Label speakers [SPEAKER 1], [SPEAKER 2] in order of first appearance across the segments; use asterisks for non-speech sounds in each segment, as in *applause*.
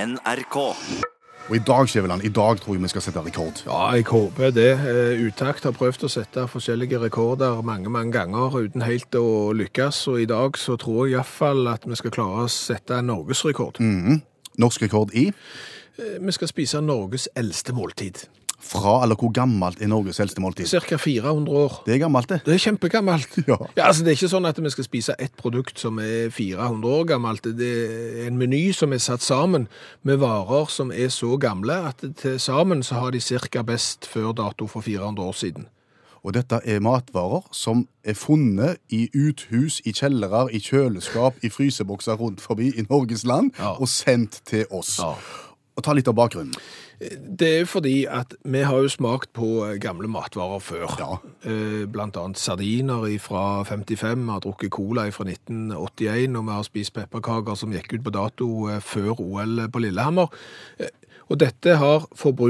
[SPEAKER 1] NRK.
[SPEAKER 2] Og i dag Skjæveland, i dag tror jeg vi skal sette rekord.
[SPEAKER 3] Ja, jeg håper det. Eh, Utakt har prøvd å sette forskjellige rekorder mange mange ganger uten helt å lykkes, og i dag så tror jeg iallfall at vi skal klare å sette en norgesrekord.
[SPEAKER 2] Norsk rekord i
[SPEAKER 3] Eh, Vi skal spise Norges eldste måltid.
[SPEAKER 2] fra eller hvor gammelt er Norges eldste måltid?
[SPEAKER 3] Ca. 400 år.
[SPEAKER 2] Det er gammelt, det.
[SPEAKER 3] *laughs* Det er kjempegammelt.
[SPEAKER 2] Ja.
[SPEAKER 3] altså, det er ikke sånn at vi skal spise ett produkt som er 400 år gammelt. Det er en meny som er satt sammen med varer som er så gamle at til sammen så har de ca. best før dato for 400 år siden.
[SPEAKER 2] Og dette er matvarer som er funnet i uthus, i kjellere, i kjøleskap, i frysebokser rundt forbi i Norges land,
[SPEAKER 3] Ja.
[SPEAKER 2] og sendt til oss. Og ta litt av bakgrunnen.
[SPEAKER 3] Det er fordi at vi har jo smakt på eh, gamle matvarer før.
[SPEAKER 2] Ja.
[SPEAKER 3] Eh, Blant annet sardiner fra 55, vi har drukket cola fra 1981, og vi har spist pepperkaker som gikk ut på dato eh, før OL på Lillehammer. Eh, Og dette har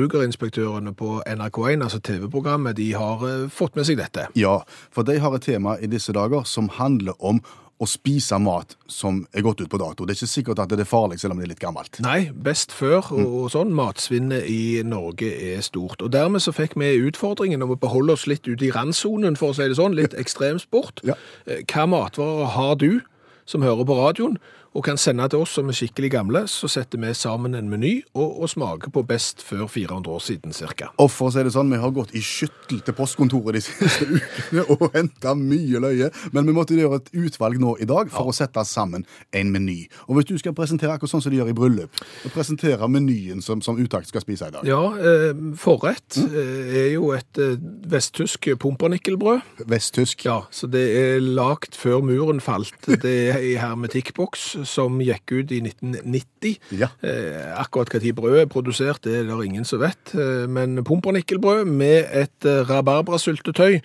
[SPEAKER 3] forbrukerinspektørene på NRK1, altså TV-programmet, de har eh, fått med seg dette.
[SPEAKER 2] Ja, for de har et tema i disse dager som handler om å spise mat som er gått ut på dato. Det er ikke sikkert at det er farlig, selv om det er litt gammelt.
[SPEAKER 3] Nei, best før og, og sånn. Matsvinnet i Norge er stort. Og dermed så fikk vi utfordringen om å beholde oss litt ute i randsonen, for å si det sånn. Litt ekstremsport.
[SPEAKER 2] Ja.
[SPEAKER 3] Eh, Hva matvarer har du som hører på radioen, og kan sende til oss som er skikkelig gamle, så setter vi sammen en meny og, og smaker på best før 400 år siden, cirka.
[SPEAKER 2] Og for å si det sånn, Vi har gått i skyttel til postkontoret de *laughs* siste ukene og henta mye løye. Men vi måtte gjøre et utvalg nå i dag for å sette sammen en meny. Og hvis du skal presentere akkurat sånn som de gjør i bryllup, og presentere menyen som, som utakt skal spise i dag
[SPEAKER 3] Ja, eh, forrett eh, er jo et eh, vesttysk pumpernikkelbrød.
[SPEAKER 2] Vesttysk.
[SPEAKER 3] Ja, så det er lagt før muren falt. Det er i hermetikkboks som gikk ut i 1990.
[SPEAKER 2] Ja.
[SPEAKER 3] Eh, akkurat hva tid brød er produsert, det er det ingen som vet. Eh, men pumpernikkelbrød med et eh, rabarbrasyltetøy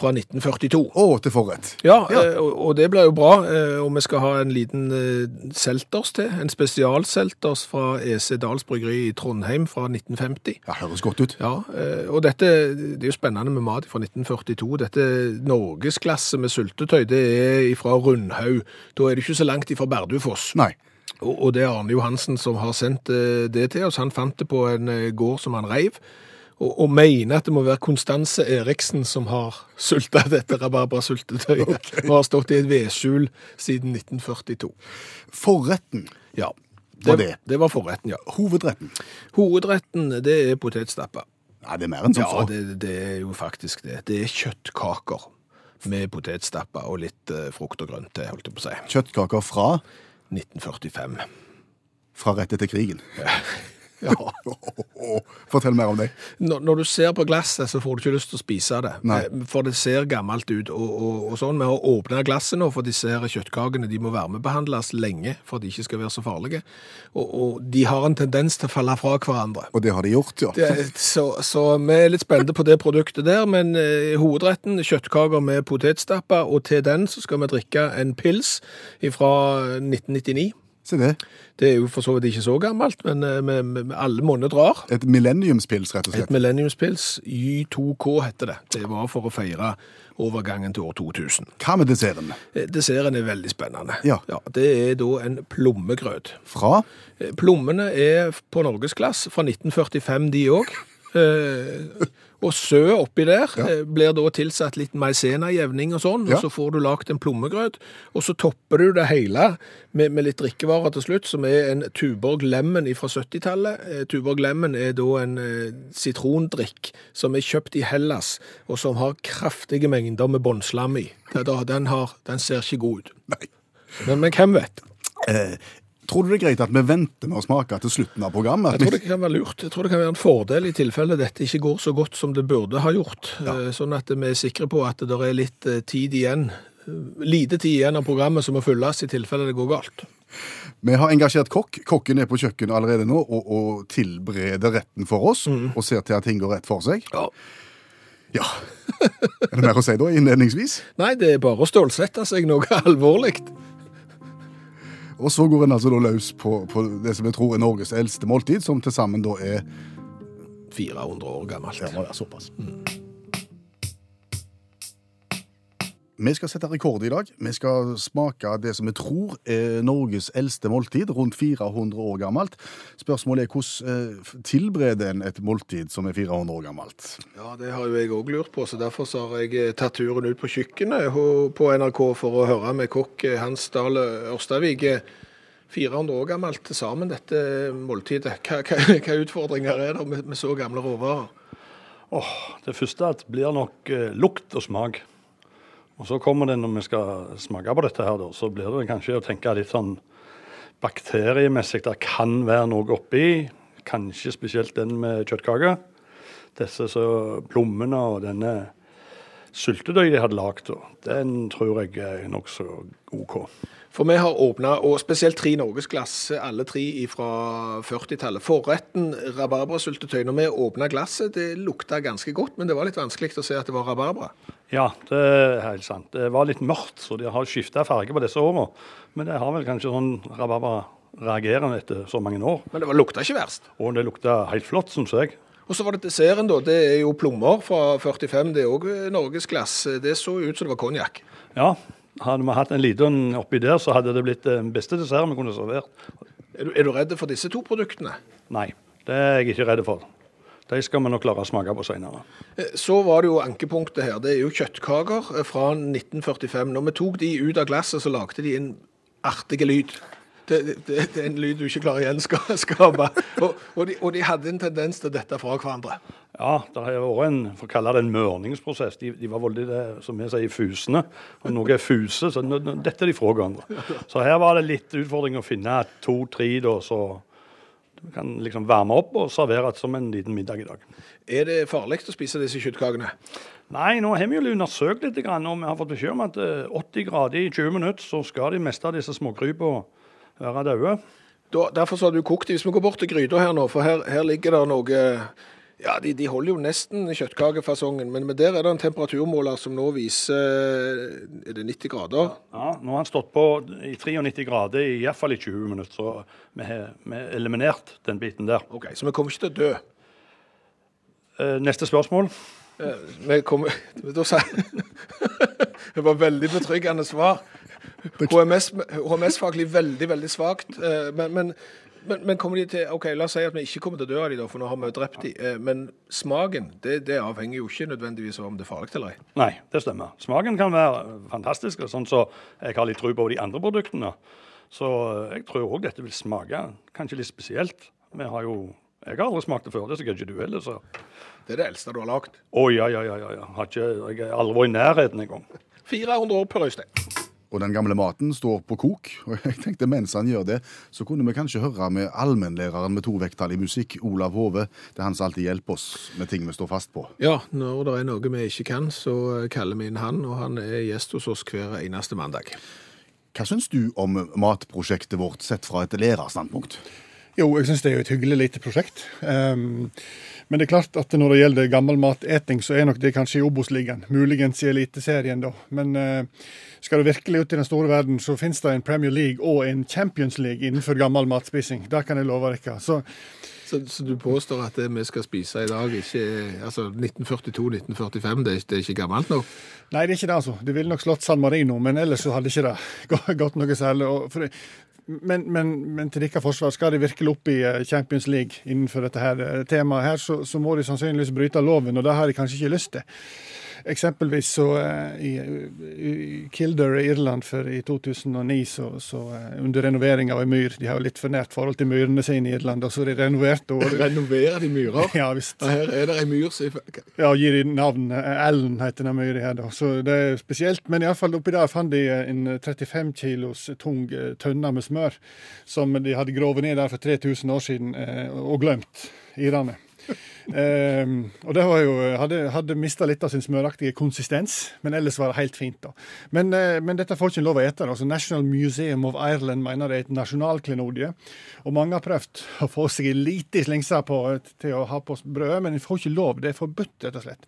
[SPEAKER 3] fra 1942.
[SPEAKER 2] Og til forrett.
[SPEAKER 3] Ja, eh, og og det blir jo bra. eh, Og vi skal ha en liten eh, selters til. En spesialselters fra EC Dals Bryggeri i Trondheim fra 1950.
[SPEAKER 2] Ja, Høres godt ut.
[SPEAKER 3] Ja, eh, og dette, det er jo spennende med mat fra 1942. Dette norgesklasse med syltetøy, det er fra Rundhaug. Da er det ikke så langt ifra Berdufoss.
[SPEAKER 2] Nei.
[SPEAKER 3] Og, og det er Arne Johansen som har sendt eh, det til oss. Han fant det på en eh, gård som han reiv. Og, og mener at det må være Konstanse Eriksen som har sulta dette rabarbrasyltetøyet. Og har stått i et vedskjul siden 1942.
[SPEAKER 2] Forretten
[SPEAKER 3] Ja.
[SPEAKER 2] var det.
[SPEAKER 3] det var forretten, ja.
[SPEAKER 2] Hovedretten.
[SPEAKER 3] Hovedretten, det er potetstappa.
[SPEAKER 2] Nei, det er mer enn som
[SPEAKER 3] Ja,
[SPEAKER 2] så.
[SPEAKER 3] det, det er jo faktisk det. Det er kjøttkaker med potetstappa og litt eh, frukt og grønt til, holdt jeg på å si.
[SPEAKER 2] Kjøttkaker fra
[SPEAKER 3] 1945.
[SPEAKER 2] fra rett etter krigen. *laughs*
[SPEAKER 3] Ja.
[SPEAKER 2] Fortell mer om det.
[SPEAKER 3] Når, når du ser på glasset, så får du ikke lyst til å spise det.
[SPEAKER 2] Nei.
[SPEAKER 3] Eh, For det ser gammelt ut. Og, og, og sånn. Vi har åpna glasset nå, for disse her kjøttkakene de må varmebehandles lenge for at de ikke skal være så farlige. Og, og de har en tendens til å falle fra hverandre.
[SPEAKER 2] Og det har de gjort, ja.
[SPEAKER 3] Det, så, så vi er litt spente på det produktet der, men eh, hovedretten kjøttkaker med potetstappa, og til den så skal vi drikke en pils fra 1999.
[SPEAKER 2] Se det.
[SPEAKER 3] Det er jo for så vidt ikke så gammelt, men eh, med, med, med alle måneder drar.
[SPEAKER 2] Et millenniumspils, rett og
[SPEAKER 3] Et
[SPEAKER 2] slett.
[SPEAKER 3] millenniumspils, Y2K heter det. Det var for å feire overgangen til år 2000.
[SPEAKER 2] Hva med desserten?
[SPEAKER 3] Eh, Desserten er veldig spennende.
[SPEAKER 2] Ja.
[SPEAKER 3] det er da en plommegrøt.
[SPEAKER 2] Fra
[SPEAKER 3] Eh, Plommene er på norgesklass fra 1945, de òg. Eh, og sø oppi der eh, blir da tilsatt litt maisenajevning og sånn,
[SPEAKER 2] Ja.
[SPEAKER 3] og så får du lagd en plommegrøt. Og så topper du det hele med, med litt drikkevarer til slutt, som er en Tuborg Lemon fra 70-tallet. Eh, Tuborg Lemon er da en eh, sitrondrikk som er kjøpt i Hellas, og som har kraftige mengder med båndslam i. Det er da- Den, har, den ser ikke god ut.
[SPEAKER 2] Nei.
[SPEAKER 3] Men, men hvem vet?
[SPEAKER 2] Eh, tror du det er greit at vi venter med å smake til slutten av programmet?
[SPEAKER 3] Jeg tror det kan være lurt. Jeg tror det kan være en fordel i tilfelle dette ikke går så godt som det burde ha gjort. Eh, Sånn at vi er sikre på at det er litt eh, tid igjen. eh, Lite tid igjen av programmet som må fylles i tilfelle det går galt.
[SPEAKER 2] Vi har engasjert kokk. Kokken er på kjøkkenet allerede nå og, og tilbereder retten for oss.
[SPEAKER 3] Mm.
[SPEAKER 2] Og ser til at ting går rett for seg.
[SPEAKER 3] Ja.
[SPEAKER 2] Ja. *laughs* er det mer å si da, innledningsvis?
[SPEAKER 3] Nei, det er bare å stålsette seg noe *laughs* alvorlig.
[SPEAKER 2] Og så går en altså da løs på, på det som jeg tror er Norges eldste måltid, som til sammen da er
[SPEAKER 3] 400 år gammelt.
[SPEAKER 2] må være såpass. Vi skal sette rekord i dag. Vi skal smake det som vi tror er Norges eldste måltid, rundt 400 år gammelt. Spørsmålet er hvordan eh, tilbereder en et måltid som er 400 år gammelt?
[SPEAKER 3] Ja, det har jo jeg òg lurt på, så derfor så har jeg eh, tatt turen ut på kjøkkenet eh, ho- på NRK for å høre med kokk eh, Hans Dale Ørstavik. Eh, 400 år gammelt til sammen, dette eh, måltidet. Hva, hva, hva utfordringer er det med, med så gamle råvarer?
[SPEAKER 1] Åh, det første at blir nok eh, lukt og smak. Og så kommer det når vi skal smake på dette her, da, så blir det kanskje å tenke litt sånn bakteriemessig. Det kan være noe oppi. Kanskje spesielt den med kjøttkake. Disse så plommene og denne syltetøy de hadde lagd, da, den tror jeg er nokså OK.
[SPEAKER 3] For vi har åpna, og spesielt tre norgesglass, eh, alle tre fra 40-tallet. Forretten rabarbrasyltetøy. Når vi åpna glasset, det lukta ganske godt, men det var litt vanskelig å se at det var rabarbra.
[SPEAKER 1] Ja, det er helt sant. Det var litt mørkt, så de har skifta farge på disse åra. Men det har vel kanskje sånn rabarbra reagerende etter så mange år.
[SPEAKER 3] Men det var, lukta ikke verst.
[SPEAKER 1] Og det lukta helt flott, syns jeg.
[SPEAKER 3] Og så var det desserten, da. Det er jo plommer fra 45. Det er òg norgesglass. Det så ut som det var konjakk.
[SPEAKER 1] Ja, hadde vi hatt en liten oppi der, så hadde det blitt den beste desserten vi kunne servert.
[SPEAKER 3] Er, du- er du redd for disse to produktene?
[SPEAKER 1] Nei, det er jeg ikke redd for. De skal vi nok klare å smake på seinere.
[SPEAKER 3] Eh, Så var det jo ankepunktet her. Det er jo kjøttkaker eh, fra 1945. Når vi tok de ut av glasset, så lagde de en artig lyd. Det, det, det er en lyd du ikke klarer å *laughs* gjenskape. Og, og, de, og de hadde en tendens til å dette fra hverandre.
[SPEAKER 1] Ja, det har vært en for å kalle det en mørningsprosess. De, de var veldig det, som vi sier, fusende. Og noe er fuse, så nå- nå detter de fra hverandre. Så her var det litt utfordring å finne to-tre da, så du kan liksom varme opp og servere det som en liten middag i dag.
[SPEAKER 3] Er det farlig å spise disse kjøttkakene?
[SPEAKER 1] Nei, nå har vi jo undersøkt litt, og vi har fått beskjed om at eh, 80 grader i 20 minutter, så skal de meste av disse småkrypene være døde.
[SPEAKER 3] Da, derfor så har du kokt de. Hvis vi går bort til gryta her nå, for her, her ligger det noe Ja, de, de holder jo nesten kjøttkakefasongen, men, men der er det en temperaturmåler som nå viser eh, Er det 90 grader?
[SPEAKER 1] Ja, nå har han stått på i 93 grader i iallfall i 20 minutter, så vi har vi har eliminert den biten der.
[SPEAKER 3] OK, så vi kommer ikke til å dø.
[SPEAKER 1] Eh, Neste spørsmål.
[SPEAKER 3] Eh, Vi kom, *laughs* da sa, det var veldig betryggende svar. HMS HMS-faglig veldig, veldig svakt. eh, Men, men, men, men kommer de til OK, la oss si at vi ikke kommer til å dø av de da, for nå har vi jo drept de. eh, Men smaken, det, det avhenger jo ikke nødvendigvis av om det er farlig eller ei.
[SPEAKER 1] Nei, det stemmer. Smaken kan være fantastisk. og Sånn så jeg har litt tro på de andre produktene. Så eh, jeg tror òg dette vil smake kanskje litt spesielt. Vi har jo Jeg har aldri smakt det før, det er sikkert ikke du heller. så...
[SPEAKER 3] Det er det eldste du har lagd.
[SPEAKER 1] Å ja, ja, ja. ja, ja. Har ikke, jeg har aldri vært i nærheten engang.
[SPEAKER 3] 400 år, Per Øystein.
[SPEAKER 2] Og den gamle maten står på kok. *laughs* Og jeg tenkte mens han gjør det, så kunne vi kanskje høre med allmennlæreren med to vekttall i musikk, Olav Hove. Det er han som alltid hjelper oss med ting vi står fast på.
[SPEAKER 3] Ja, når det er noe vi ikke kan, så kaller vi inn han, og han er gjest hos oss hver eneste mandag.
[SPEAKER 2] Hva syns du om matprosjektet vårt sett fra et lærerstandpunkt?
[SPEAKER 4] Jo, jeg syns det er jo et hyggelig lite prosjekt. Ehm, men det er klart at når det gjelder gammel mateting, så er nok det kanskje i Obos-ligaen. Muligens i Eliteserien, da. Men eh, skal du virkelig ut i den store verden, så finnes det en Premier League og en Champions League innenfor gammel matspising. Det kan jeg love dere. Så
[SPEAKER 3] Så, så du påstår at det vi skal spise i dag, ikke er- altså 1942-1945, det, er- det er ikke gammelt nok?
[SPEAKER 4] Nei, det er ikke det, altså. Det ville nok slått San Marino, men ellers så hadde ikke det *laughs* gå- gått noe særlig. Og for, men, men, men til deres forsvar, skal de virkelig opp i eh, Champions League innenfor dette her eh, temaet, her, så, så må de sannsynligvis bryte loven, og det har de kanskje ikke lyst til. Eksempelvis så eh, i, i Kildare i Irland for i 2009, så, så eh, under renovering av ei myr De har jo litt for nært forhold til myrene sine i Irland, og så de renoverte og
[SPEAKER 3] Renoverer de myrer?
[SPEAKER 4] *laughs* Ja visst.
[SPEAKER 3] Og her er det ei myr som
[SPEAKER 4] Ja, og gir de navn. Ellen heter den mye her, da. Så det er spesielt. Men iallfall oppi der fant de en 35 kilos tung eh, tønne med smør som de hadde grovet ned der for 3000 år siden eh, og glemt, irene. Ehm, og det var jo, hadde, hadde mista litt av sin smøraktige konsistens, men ellers var det helt fint. da. Men, eh, men dette får ikke en lov å ete. da. Så National Museum of Ireland mener det er et nasjonalklenodie. Og mange har prøvd å få seg en liten slingse på, til å ha på brød, men en får ikke lov. Det er forbudt, rett og slett.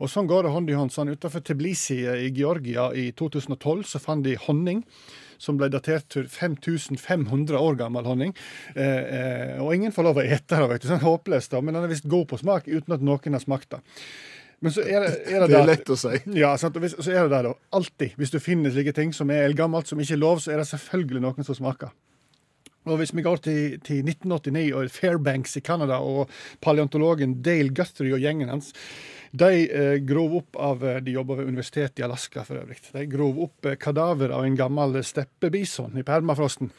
[SPEAKER 4] Og sånn går det hånd i hånd. Sånn, Utenfor Tbilisi i Georgia i 2012 så fant de honning som ble datert til 5500 år gammel honning. Eh, eh, og ingen får lov å ete det, vet du. Sånn håpløst, da. Men den er visst god på smak uten at noen har smakt det. Men så er det, er det,
[SPEAKER 3] Det er
[SPEAKER 4] der-
[SPEAKER 3] lett å si.
[SPEAKER 4] Ja, sant? Og hvis, så er det der, da. Alltid. Hvis du finner slike ting som er eldgammelt, som ikke er lov, så er det selvfølgelig noen som smaker. Og Hvis vi går til, til 1989 og Fairbanks i Canada og paleontologen Dale Guthrie og gjengen hans de eh, grov opp av eh, De jobber ved universitetet i Alaska, for øvrig. De grov opp eh, kadaver av en gammel steppebison i permafrosten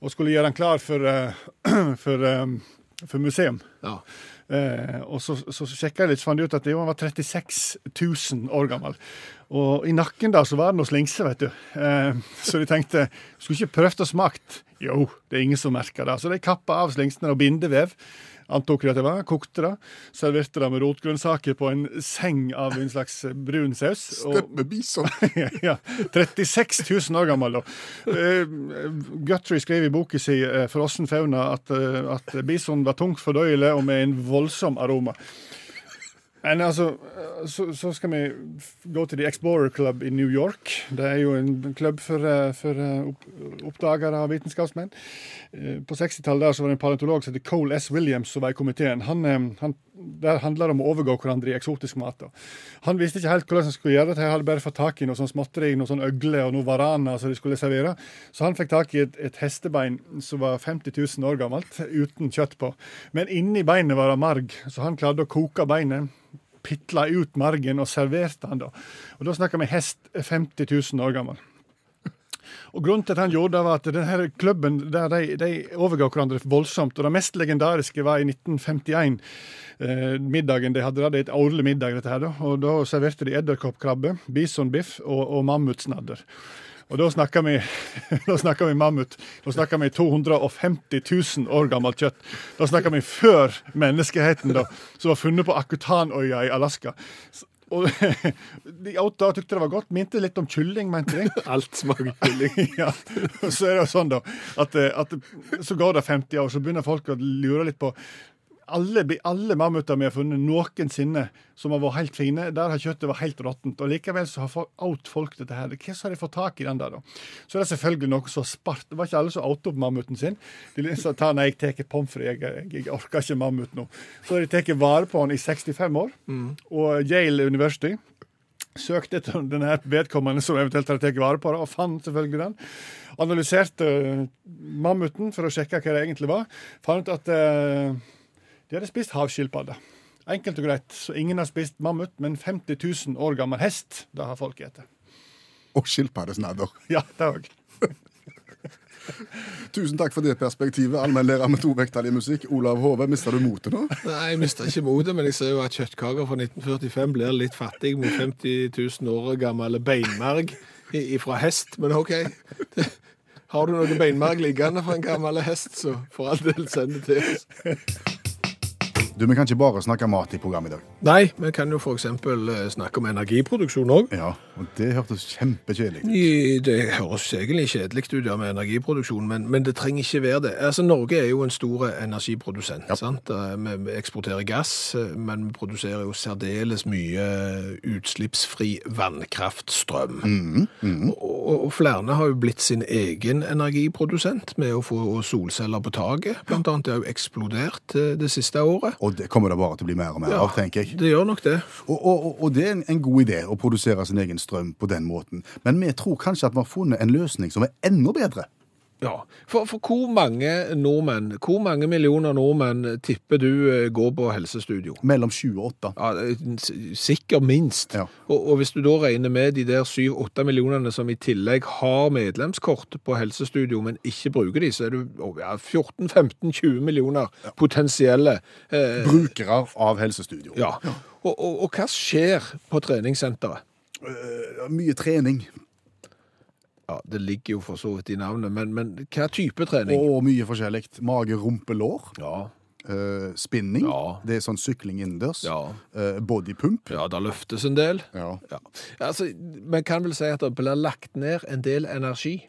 [SPEAKER 4] og skulle gjøre den klar for, eh, *clears throat* for, eh, for museum.
[SPEAKER 3] Ja.
[SPEAKER 4] Eh, og så, så, så sjekka jeg litt, så fant jeg ut at jo, han var 36 000 år gammel. Og i nakken da, så var det noe slingse, vet du. Eh, så de tenkte skulle ikke prøvd og smakt. Jo, det er ingen som merker det. Så de kappa av slingsene og bindevev. Antok de at det var, kokte det, serverte det med rotgrønnsaker på en seng av en slags brun saus. og-
[SPEAKER 3] Steppe bison.
[SPEAKER 4] *laughs* ja, 36 000 år gammel, da. Eh, Guthrie skrev i boka si eh, 'Frossen fauna' at, eh, at bison var tungt fordøyelig og med en voldsom aroma. Men altså, eh, så, så skal vi f- gå til The Explorer Club i New York. Det er jo en klubb for, eh, for eh, opp, oppdagere og vitenskapsmenn. Eh, På 60-tallet der så var det en paleontolog som heter Cole S. Williams som var i komiteen. Han, eh, han, der handler det om å overgå hverandre i eksotisk mat. Da. Han visste ikke helt hvordan han skulle gjøre det. De hadde bare fått tak i noe sånn småtteri, noe sånn øgle og noe varana som de skulle servere. Så han fikk tak i et, et hestebein som var 50 000 år gammelt, uten kjøtt på. Men inni beinet var det marg, så han klarte å koke beinet. Pitla ut margen og serverte han da. Og da snakker vi hest 50 000 år gammel. Og grunnen til at han gjorde det, var at denne her klubben der de, de overga hverandre voldsomt. Og det mest legendariske var i 1951. Eh, middagen de hadde, da. det er et årlig middag, dette her. da. Og da serverte de edderkoppkrabbe, bisonbiff og, og mammutsnadder. Og da snakker vi, *laughs* da snakker vi mammut. Da snakker vi 250 000 år gammelt kjøtt. Da snakker vi før menneskeheten, da, som var funnet på Akutanøya i Alaska. S- Og *laughs* De åt det og tykte det var godt. Minte litt om kylling, mente de
[SPEAKER 3] Alt smaker kylling.
[SPEAKER 4] ja, og så er det jo sånn da at, eh, at så går det 50 år, så begynner folk å lure litt på alle, bi- alle mammuter vi har funnet noensinne som har vært helt fine, der har kjøttet vært helt råttent. Og likevel så har folk, out folk dette her. Hvordan har de fått tak i den der, da? Så er det selvfølgelig noen som har spart. Det var ikke alle som outa opp mammuten sin. De liksom tar nei, jeg tar pommes frites, jeg, jeg, jeg orker ikke mammut nå. Så har de tatt vare på den i 65 år. Og Yale University søkte etter denne her vedkommende som eventuelt hadde tatt vare på det, og fant selvfølgelig den. Analyserte eh, mammuten for å sjekke hva det egentlig var. Fant ut at eh, de hadde spist havskilpadde. Enkelt og greit. Så ingen har spist mammut, men 50 000 år gammel hest. Det har folk spist. *laughs*
[SPEAKER 2] Og skilpaddesnadder.
[SPEAKER 4] Ja, det òg.
[SPEAKER 2] Tusen takk for det perspektivet, allmennlærer med tovektig musikk. Olav Hove, mister du motet nå?
[SPEAKER 3] Nei, jeg mister ikke motet, men jeg ser jo at kjøttkaker fra 1945 blir litt fattig med 50 000 år gammel beinmerg i- ifra hest, men OK. Det- Har du noe beinmerg liggende fra en gammel hest, så for all del send det til oss.
[SPEAKER 2] Du, Vi kan ikke bare snakke mat i programmet i dag.
[SPEAKER 3] Nei, vi kan jo f.eks. eh, snakke om energiproduksjon òg.
[SPEAKER 2] Ja, og Det hørtes kjempekjedelig ut.
[SPEAKER 3] I- Det høres egentlig kjedelig ut ja, med energiproduksjon, men, men det trenger ikke være det. Altså, Norge er jo en stor energiprodusent. sant? Eh, Vi vi eksporterer gass, eh, men vi produserer jo særdeles mye utslippsfri vannkraftstrøm. Og, og- og flere har jo blitt sin egen energiprodusent med å få solceller på taket. Blant annet det har jo eksplodert eh, det siste året.
[SPEAKER 2] Og det kommer det bare til å bli mer og mer av, tenker jeg.
[SPEAKER 3] Det gjør nok det.
[SPEAKER 2] Og, og, og- og det er en, en god idé å produsere sin egen strøm på den måten. Men vi tror kanskje at vi har funnet en løsning som er enda bedre.
[SPEAKER 3] Ja, for, for hvor mange nordmenn, hvor mange millioner nordmenn tipper du eh, går på helsestudio?
[SPEAKER 2] Mellom 7 og 8.
[SPEAKER 3] Ja, eh, s- sikkert minst.
[SPEAKER 2] Ja.
[SPEAKER 3] Og, og hvis du da regner med de der 7-8 millionene som i tillegg har medlemskort på helsestudio, men ikke bruker de, så er du å, ja, 14-15-20 millioner potensielle. Eh,
[SPEAKER 2] Brukere av helsestudio.
[SPEAKER 3] ja. Og, og, og hva skjer på treningssenteret?
[SPEAKER 2] Eh, Mye trening
[SPEAKER 3] Ja, det ligger jo for så vidt i navnet, men, men hva type trening?
[SPEAKER 2] og mye forskjellig. Mage, rumpe, lår.
[SPEAKER 3] Ja,
[SPEAKER 2] eh, spinning.
[SPEAKER 3] Ja.
[SPEAKER 2] Det er sånn sykling innendørs.
[SPEAKER 3] Ja.
[SPEAKER 2] eh, bodypump.
[SPEAKER 3] ja, det løftes en del.
[SPEAKER 2] Ja.
[SPEAKER 3] Ja. Altså, man kan vel si at det blir lagt ned en del energi.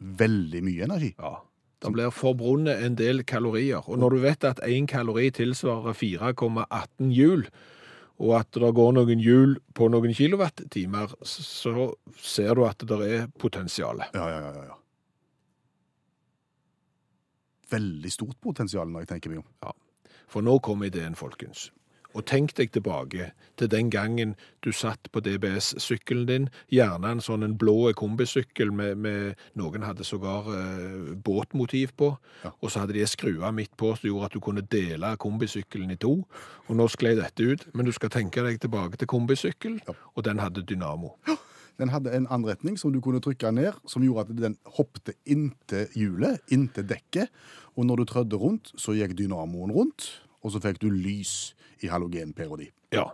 [SPEAKER 2] Veldig mye energi.
[SPEAKER 3] Ja. Det blir forbrunnet en del kalorier. Og når du vet at én kalori tilsvarer 4,18 hjul, og at det går noen hjul på noen kilowattimer, så ser du at det er potensial.
[SPEAKER 2] Ja, ja, ja, ja, ja. Veldig stort potensial når jeg tenker meg om.
[SPEAKER 3] For nå kom ideen, folkens. Og tenk deg tilbake til den gangen du satt på DBS-sykkelen din, gjerne en sånn en blå kombisykkel med, med noen hadde sågar eh, båtmotiv på, og så hadde de ei skrue midt på som gjorde at du kunne dele kombisykkelen i to. Og nå sklei dette ut, men du skal tenke deg tilbake til kombisykkel, og den hadde dynamo.
[SPEAKER 2] Den hadde en anretning som du kunne trykke ned, som gjorde at den hoppte inntil hjulet, inntil dekket. Og når du trødde rundt, så gikk dynamoen rundt, og så fikk du lys i halogenperodi.
[SPEAKER 3] Ja.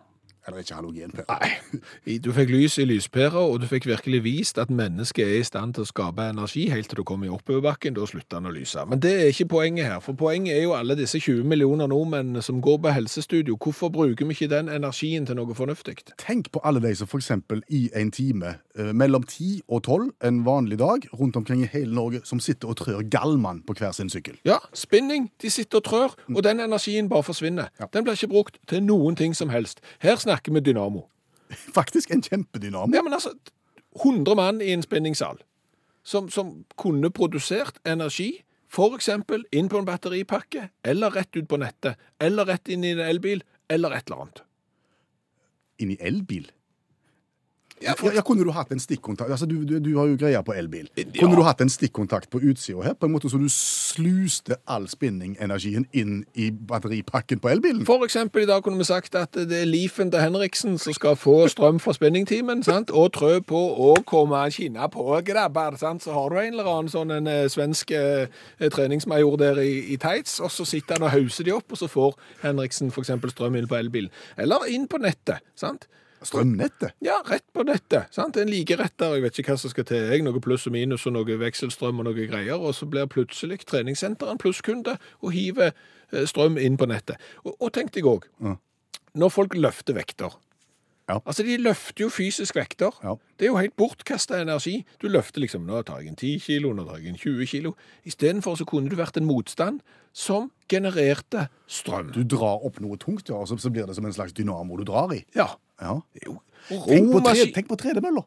[SPEAKER 2] Eller ikke Ah, halogenperodi.
[SPEAKER 3] Nei. I- Du fikk lys i lyspæra, og du fikk virkelig vist at mennesket er i stand til å skape energi helt til du kommer i oppoverbakken. Da slutter den å lyse. Men det er ikke poenget her. For poenget er jo alle disse 20 millioner nordmennene som går på helsestudio. Hvorfor bruker vi ikke den energien til noe fornuftig?
[SPEAKER 2] Tenk på alle de som f.eks. i en time eh, mellom 10 og 12 en vanlig dag rundt omkring i hele Norge som sitter og trør gallmann på hver sin sykkel.
[SPEAKER 3] Ja, spinning. De sitter og trør, og den energien bare forsvinner. Den blir ikke brukt til noen ting som helst. Her snakker vi dynamo.
[SPEAKER 2] Faktisk en kjempedynamo.
[SPEAKER 3] Ja, men altså, 100 mann i en spinningsal som, som kunne produsert energi, for eksempel inn på en batteripakke, eller rett ut på nettet, eller rett inn i en elbil, eller et eller annet.
[SPEAKER 2] Inn i elbil.
[SPEAKER 3] Ja,
[SPEAKER 2] Ja,
[SPEAKER 3] for-
[SPEAKER 2] ja, kunne du hatt en stikkontakt altså, du, du, du har jo greia på elbil.
[SPEAKER 3] Ja.
[SPEAKER 2] Kunne du hatt en stikkontakt på utsida her, på en måte så du sluste all spinningenergien inn i batteripakken på elbilen?
[SPEAKER 3] For eksempel i dag kunne vi sagt at det er Leafen til Henriksen som skal få strøm fra spinningtimen, sant? og trø på å komme kina på grabber, sant? så har du en eller annen sånn en eh, svensk eh, treningsmajor der i, i tights, og så sitter han og hauser de opp, og så får Henriksen for eksempel strøm inn på elbilen. Eller inn på nettet, sant?
[SPEAKER 2] Strømnettet?
[SPEAKER 3] Ja, rett på nettet. sant? En likeretter, jeg vet ikke hva som skal til. jeg, Noe pluss og minus og noe vekselstrøm og noe greier. Og så blir plutselig treningssenteret en plusskunde og hiver eh, strøm inn på nettet. Og, og tenk deg òg, når folk løfter vekter.
[SPEAKER 2] Ja.
[SPEAKER 3] Altså, De løfter jo fysisk vekter.
[SPEAKER 2] Ja.
[SPEAKER 3] Det er jo helt bortkasta energi. Du løfter liksom Nå tar jeg en 10 kilo, nå tar jeg en 20 kilo. Istedenfor så kunne du vært en motstand som genererte strøm.
[SPEAKER 2] Du drar opp noe tungt, ja, og så, så blir det som en slags dynamo du drar i.
[SPEAKER 3] Ja.
[SPEAKER 2] Ja.
[SPEAKER 3] Det er jo
[SPEAKER 2] Tenk på, tre,
[SPEAKER 3] romaskin-
[SPEAKER 2] tenk på tredemøller.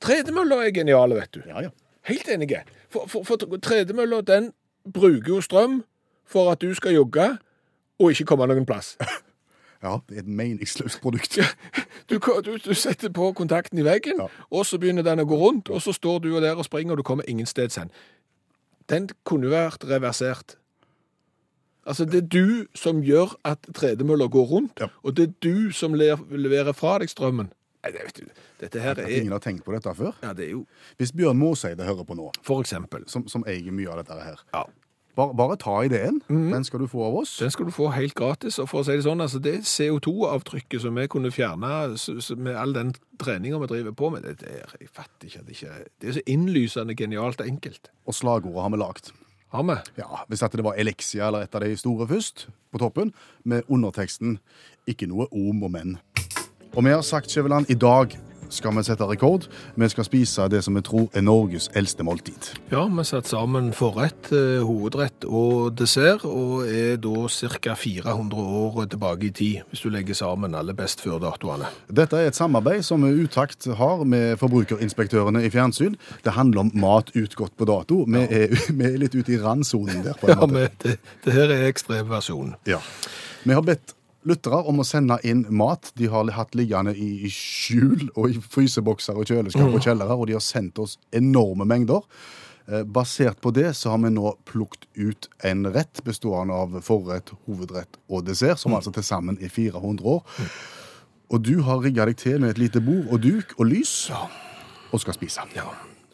[SPEAKER 3] Tredemøller er geniale, vet du.
[SPEAKER 2] Ja, ja.
[SPEAKER 3] Helt enige. For, for, for tredemølla, den bruker jo strøm for at du skal jogge og ikke komme noen *laughs* plass.
[SPEAKER 2] Ja, det er et meningsløst produkt.
[SPEAKER 3] Du, ko- du, du setter på kontakten i veggen,
[SPEAKER 2] Ja.
[SPEAKER 3] og så begynner den å gå rundt, og så står du der og springer, og du kommer ingensteds hen. Den kunne vært reversert. Altså, det er du som gjør at tredemølla går rundt,
[SPEAKER 2] Ja.
[SPEAKER 3] og det er du som lever, leverer fra deg strømmen. Nei, det vet du. Dette her
[SPEAKER 2] At
[SPEAKER 3] er
[SPEAKER 2] ingen har tenkt på dette før.
[SPEAKER 3] Ja, det er jo
[SPEAKER 2] Hvis Bjørn Måseide hører på nå,
[SPEAKER 3] For eksempel.
[SPEAKER 2] som, som eier mye av dette her,
[SPEAKER 3] Ja. Mhm.
[SPEAKER 2] bare, bare ta ideen. Den skal du få av oss.
[SPEAKER 3] Den skal du få helt gratis. Og for å si det sånn, altså det CO2-avtrykket som vi kunne fjerne s- s- med all den treninga vi driver på med, det, det er, jeg fatter ikke at det ikke Det er så innlysende genialt enkelt.
[SPEAKER 2] Og slagordet har vi lagd.
[SPEAKER 3] Har vi?
[SPEAKER 2] Ja, Hvis at det var Elixia eller et av de store først, på toppen, med underteksten 'Ikke noe om og men'. Og vi har sagt, Skjæveland, i dag skal vi sette rekord. Vi skal spise det som vi tror er Norges eldste måltid.
[SPEAKER 3] Ja, vi satt sammen forrett, eh, hovedrett og dessert, og er da ca. 400 år tilbake i tid, hvis du legger sammen alle best før-datoene.
[SPEAKER 2] Dette er et samarbeid som Utakt har med forbrukerinspektørene i fjernsyn. Det handler om mat utgått på dato. Vi er, *laughs* vi er litt ute i randsonen der. på en
[SPEAKER 3] Ja,
[SPEAKER 2] måte.
[SPEAKER 3] men det, det her er ekstremversjonen.
[SPEAKER 2] Ja. Vi har bedt lyttere om å sende inn mat de har hatt liggende i i skjul og i frysebokser og kjøleskap og kjellere, og de har sendt oss enorme mengder. Eh, Basert på det så har vi nå plukket ut en rett bestående av forrett, hovedrett og dessert, som altså til sammen er 400 år. Og du har rigga deg til med et lite bord og duk og lys, og skal spise.
[SPEAKER 3] Ja.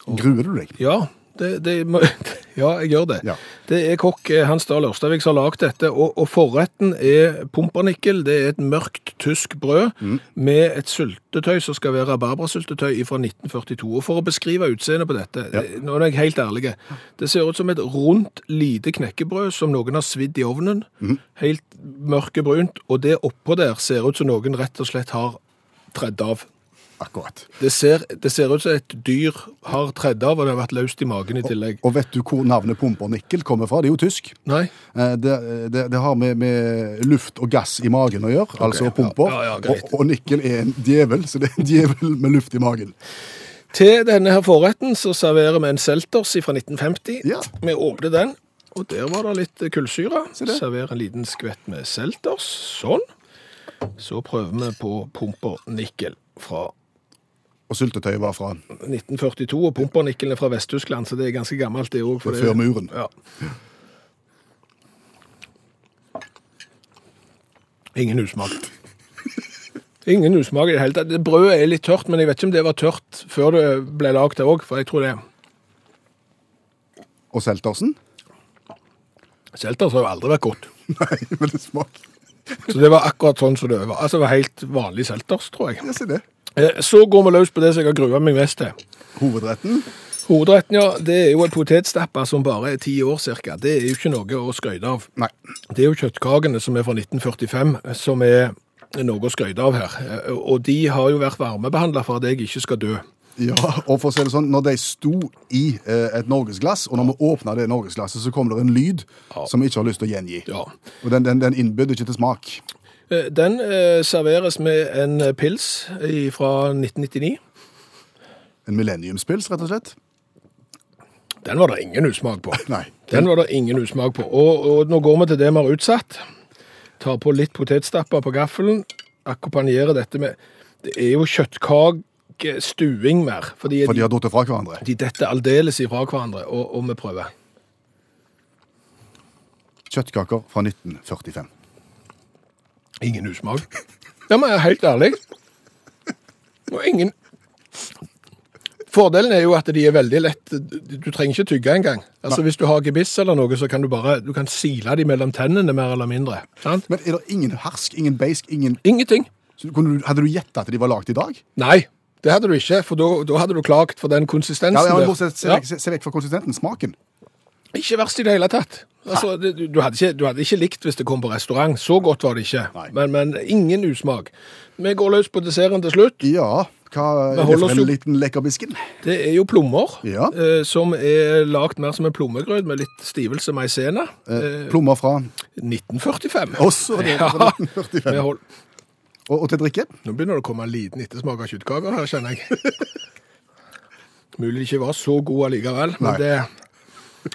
[SPEAKER 2] Gruer du deg?
[SPEAKER 3] Ja, det, det, må- *laughs* ja jeg gjør det.
[SPEAKER 2] Ja.
[SPEAKER 3] Det er kokk eh, Hans Dahl Ørstavik som har lagd dette, og, og forretten er pumpernikkel. Det er et mørkt tysk brød med et syltetøy som skal være rabarbrasyltetøy fra 1942. Og for å beskrive utseendet på dette, eh, nå er jeg helt ærlig, det ser ut som et rundt, lite knekkebrød som noen har svidd i ovnen. Helt mørkebrunt, og det oppå der ser ut som noen rett og slett har tredd av.
[SPEAKER 2] Akkurat.
[SPEAKER 3] Det ser, det ser ut som et dyr har tredd av, og det har vært løst i magen i tillegg.
[SPEAKER 2] Og vet du hvor navnet pumpernikkel kommer fra? Det er jo tysk.
[SPEAKER 3] Nei?
[SPEAKER 2] Eh, Det, det, det har med, med luft og gass i magen å gjøre, altså pumper.
[SPEAKER 3] Ja, ja, greit.
[SPEAKER 2] og, og nikkel er en djevel, så det er en djevel med luft i magen.
[SPEAKER 3] Til denne her forretten så serverer vi en Selters fra 1950.
[SPEAKER 2] Ja.
[SPEAKER 3] Vi åpner den, og der var det litt kullsyre.
[SPEAKER 2] det.
[SPEAKER 3] Serverer en liten skvett med Selters. Sånn. Så prøver vi på pumpernikkel fra
[SPEAKER 2] Og syltetøyet var fra
[SPEAKER 3] 1942, og pumpernikkelen er fra Vest-Tyskland, så det er ganske gammelt det òg.
[SPEAKER 2] Det er før muren.
[SPEAKER 3] Ja. Ingen usmak. Ingen usmak i det hele tatt. Det- Brødet er litt tørt, men jeg vet ikke om det var tørt før det ble lagd, det òg. For jeg tror det
[SPEAKER 2] Og seltersen?
[SPEAKER 3] Selters har jo aldri vært godt.
[SPEAKER 2] *laughs* Nei, men det smaker
[SPEAKER 3] Så det var akkurat sånn som det var. Altså, det var helt vanlig selters, tror jeg.
[SPEAKER 2] Ja, se det.
[SPEAKER 3] Eh, Så går vi løs på det som jeg har grua meg mest til.
[SPEAKER 2] Hovedretten?
[SPEAKER 3] Hovedretten, ja, det er jo en potetstappe som bare er ti år ca. Det er jo ikke noe å skryte av.
[SPEAKER 2] Nei.
[SPEAKER 3] Det er jo kjøttkakene som er fra 1945, som er noe å skryte av her. Og de har jo vært varmebehandla for at jeg ikke skal dø.
[SPEAKER 2] Ja, og for å si det sånn, når de sto i eh, et norgesglass, og når vi åpna det norgesglasset, så kom det en lyd som vi ikke har lyst til å gjengi.
[SPEAKER 3] Ja.
[SPEAKER 2] Og den, den, den innbydde ikke til smak.
[SPEAKER 3] Eh, Den eh, serveres med en pils i- fra 1999.
[SPEAKER 2] En millenniumspils, rett og slett.
[SPEAKER 3] Den var det ingen usmak på.
[SPEAKER 2] Nei.
[SPEAKER 3] Den var det ingen usmak på. Og, og nå går vi til det vi har utsatt. Tar på litt potetstapper på gaffelen. Akkompagnerer dette med Det er jo kjøttkakestuing mer. Fordi,
[SPEAKER 2] For de
[SPEAKER 3] de,
[SPEAKER 2] har datt fra hverandre.
[SPEAKER 3] de detter aldeles ifra hverandre, og, og vi prøver.
[SPEAKER 2] Kjøttkaker fra 1945.
[SPEAKER 3] Ingen usmak. Ja, men jeg er helt ærlig. Og ingen Fordelen er jo at de er veldig lett Du trenger ikke tygge engang. Altså, hvis du har gebiss eller noe, så kan du bare du kan sile de mellom tennene, mer eller mindre. Sant?
[SPEAKER 2] Men er det ingen hersk, ingen beisk, ingen
[SPEAKER 3] Ingenting.
[SPEAKER 2] så kunne du, Hadde du gjetta at de var lagd i dag?
[SPEAKER 3] Nei, det hadde du ikke, for da da hadde du klagt for den konsistensen.
[SPEAKER 2] Ja, ja, men
[SPEAKER 3] der.
[SPEAKER 2] bortsett, se,
[SPEAKER 3] Ja.
[SPEAKER 2] vekk- se, se vekk fra konsistenten. Smaken.
[SPEAKER 3] Ikke verst i det hele tatt. Altså, det- du, du, hadde ikke, du hadde ikke likt hvis det kom på restaurant. Så godt var det ikke.
[SPEAKER 2] Nei.
[SPEAKER 3] Men, men ingen usmak. Vi går løs på desserten til slutt.
[SPEAKER 2] Ja, hva
[SPEAKER 3] Men
[SPEAKER 2] er det
[SPEAKER 3] hold
[SPEAKER 2] for
[SPEAKER 3] oss
[SPEAKER 2] en
[SPEAKER 3] jo-
[SPEAKER 2] liten lekkerbisken?
[SPEAKER 3] Det er jo plommer,
[SPEAKER 2] Ja.
[SPEAKER 3] eh, som er lagd mer som en plommegrøt med litt stivelse maisena. Eh,
[SPEAKER 2] Plommer fra
[SPEAKER 3] 1945.
[SPEAKER 2] Også det,
[SPEAKER 3] ja.
[SPEAKER 2] fra 1945.
[SPEAKER 3] Vi hold-
[SPEAKER 2] og, og til drikke?
[SPEAKER 3] Nå begynner det å komme en liten ettersmak av kjøttkaker her,
[SPEAKER 2] *laughs*
[SPEAKER 3] kjenner jeg. Mulig det ikke var så god allikevel, men
[SPEAKER 2] Nei.
[SPEAKER 3] det,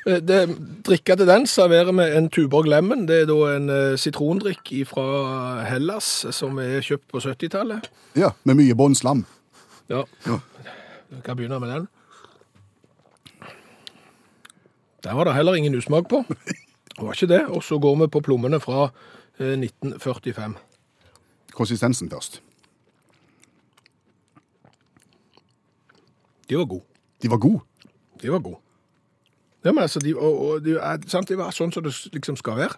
[SPEAKER 3] eh, det Drikka til den serverer vi en Tuborg Lemon. Det er da en eh, sitrondrikk fra Hellas som er kjøpt på 70-tallet.
[SPEAKER 2] Ja, med mye båndslam.
[SPEAKER 3] Ja.
[SPEAKER 2] Ja.
[SPEAKER 3] Du kan begynne med den. Der var det heller ingen usmak på. Det var ikke det. Og så går vi på plommene fra eh, 1945.
[SPEAKER 2] Konsistensen først.
[SPEAKER 3] De var gode.
[SPEAKER 2] De var gode.
[SPEAKER 3] De var gode. Ja, men altså, de, og, og, de, er, sant, de var sånn som det liksom skal være.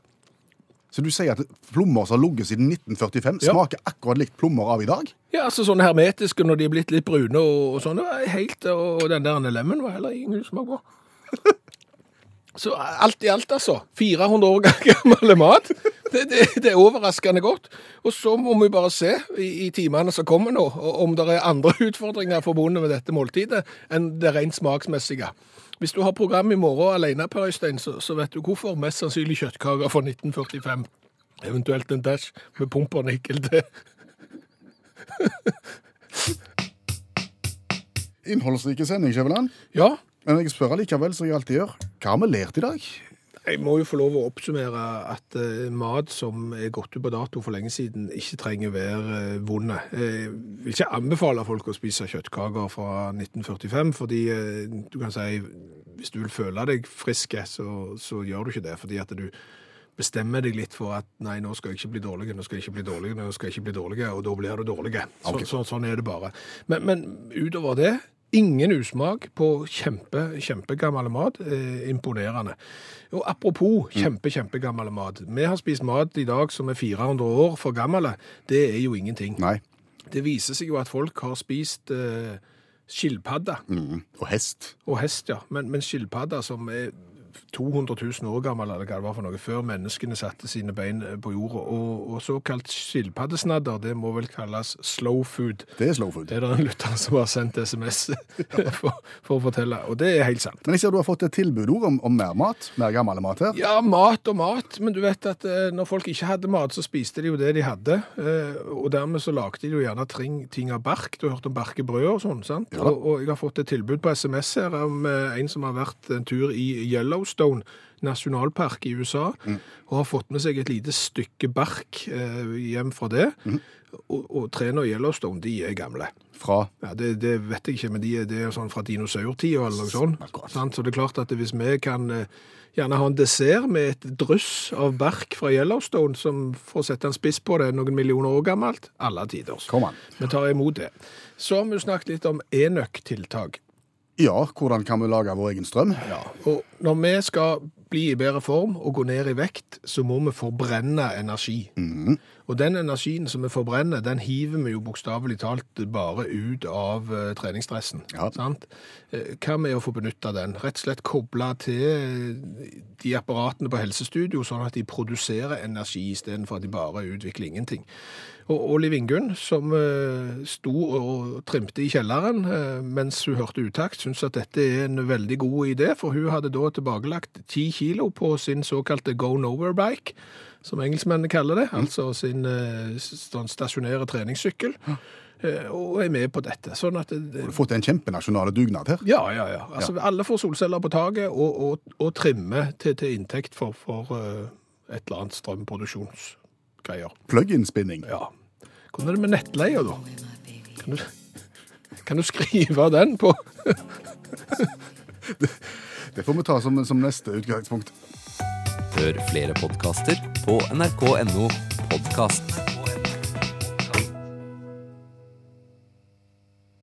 [SPEAKER 2] Så du sier at plommer som har ligget siden 1945,
[SPEAKER 3] Ja.
[SPEAKER 2] smaker akkurat likt plommer av i dag?
[SPEAKER 3] Ja, altså sånne hermetiske når de er blitt litt brune og, og sånn. Det var helt, og, og den der lemmen var heller ingen usmak på. *laughs* Så alt i alt, altså. 400 år *laughs* gammel mat. Det, det, det er overraskende godt. Og så må vi bare se i, i timene som kommer nå, og om det er andre *laughs* utfordringer forbundet med dette måltidet enn det rent smaksmessige. Hvis du har program i morgen alene, Per Øystein, så, så vet du hvorfor. Mest sannsynlig kjøttkaker fra 1945. Eventuelt en dash med pumpernikkel til *laughs*
[SPEAKER 2] Innholdsrike sending, Skjæveland.
[SPEAKER 3] Ja,
[SPEAKER 2] Men jeg spør likevel, som jeg alltid gjør, hva har vi lært i dag?
[SPEAKER 3] Jeg må jo få lov å oppsummere at eh, mat som er gått ut på dato for lenge siden, ikke trenger være eh, vonde. Jeg vil ikke anbefale folk å spise kjøttkaker fra 1945, fordi eh, du kan si hvis du vil føle deg friske, så, så gjør du ikke det. Fordi at du bestemmer deg litt for at nei, nå skal jeg ikke bli dårlig, nå skal jeg ikke bli dårlig, nå skal jeg ikke bli dårlig, og da blir du dårlig. Så,
[SPEAKER 2] Ok.
[SPEAKER 3] så, sånn er det bare. Men, men utover det, ingen usmak på kjempe, kjempegammel mat. Eh, imponerende. Og apropos kjempe, kjempegammel mat. Vi har spist mat i dag som er 400 år for gammel. Det er jo ingenting.
[SPEAKER 2] Nei.
[SPEAKER 3] Det viser seg jo at folk har spist eh, skilpadde
[SPEAKER 2] Mm. Og hest.
[SPEAKER 3] og hest, ja. Men, men skilpadder som er 200 000 år gammel, eller hva det var for noe, før menneskene satte sine bein eh, på jorda. Og, og såkalt skilpaddesnadder, det må vel kalles slow food.
[SPEAKER 2] Det er slow food.
[SPEAKER 3] Det er det en lytter som har sendt *laughs* SMS for, for å fortelle, og det er helt sant.
[SPEAKER 2] Men jeg ser du har fått et tilbudord om, om mer mat. Mer gammel mat her.
[SPEAKER 3] Ja, mat og mat, men du vet at eh, når folk ikke hadde mat, så spiste de jo det de hadde. Eh, og dermed så lagde de jo gjerne ting, ting av bark. Du har hørt om barkebrød og sånn, sant?
[SPEAKER 2] Ja da.
[SPEAKER 3] og, og jeg har fått et tilbud på SMS her om eh, en som har vært en tur i Yellowstone Yellowstone nasjonalpark i USA,
[SPEAKER 2] Mm.
[SPEAKER 3] og har fått med seg et lite stykke bark eh, hjem fra det.
[SPEAKER 2] Mm.
[SPEAKER 3] Og, og trærne i Yellowstone, de er gamle.
[SPEAKER 2] Fra
[SPEAKER 3] Ja, det, det vet jeg ikke, men de er, det er sånn fra dinosaurtid og sånn. noe sånt. Sant? Så det er klart at hvis vi kan eh, gjerne ha en dessert med et dryss av bark fra Yellowstone, som får sette en spiss på det, er noen millioner år gammelt, alle tiders.
[SPEAKER 2] Kom an.
[SPEAKER 3] Vi tar imot det. Så har vi jo snakket litt om enøk-tiltak.
[SPEAKER 2] Ja, hvordan kan vi lage vår egen strøm?
[SPEAKER 3] Og når vi skal bli i bedre form og gå ned i vekt, så må vi forbrenne energi. Og den energien som vi forbrenner, den hiver vi jo bokstavelig talt bare ut av eh, treningsstressen.
[SPEAKER 2] Ja.
[SPEAKER 3] Sant? Eh, Hva med å få benytte den? Rett og slett koble til eh, de apparatene på helsestudio, sånn at de produserer energi istedenfor at de bare utvikler ingenting. Og, og Liv Ingunn, som eh, sto og trimte i kjelleren eh, mens hun hørte utakt, syntes at dette er en veldig god idé, for hun hadde da tilbakelagt ti kilo på sin såkalte go nowhere bike, som engelskmennene kaller det, altså sin eh, s- sånn stasjonære treningssykkel, eh, og er med på dette. Sånn at det,
[SPEAKER 2] Har du fått en kjempenasjonal dugnad her?
[SPEAKER 3] ja, ja, ja. Altså, Alle får solceller på taket og, og, og trimmer til, til inntekt for, for eh, et eller annet strømproduksjonsgreier.
[SPEAKER 2] Plug-in-spinning.
[SPEAKER 3] Ja. Hvordan er det med nettleia, da? Kan du, kan du skrive den på
[SPEAKER 2] Det får vi ta som, som neste utgangspunkt.
[SPEAKER 5] Hør flere podkaster på nrk.no podkast.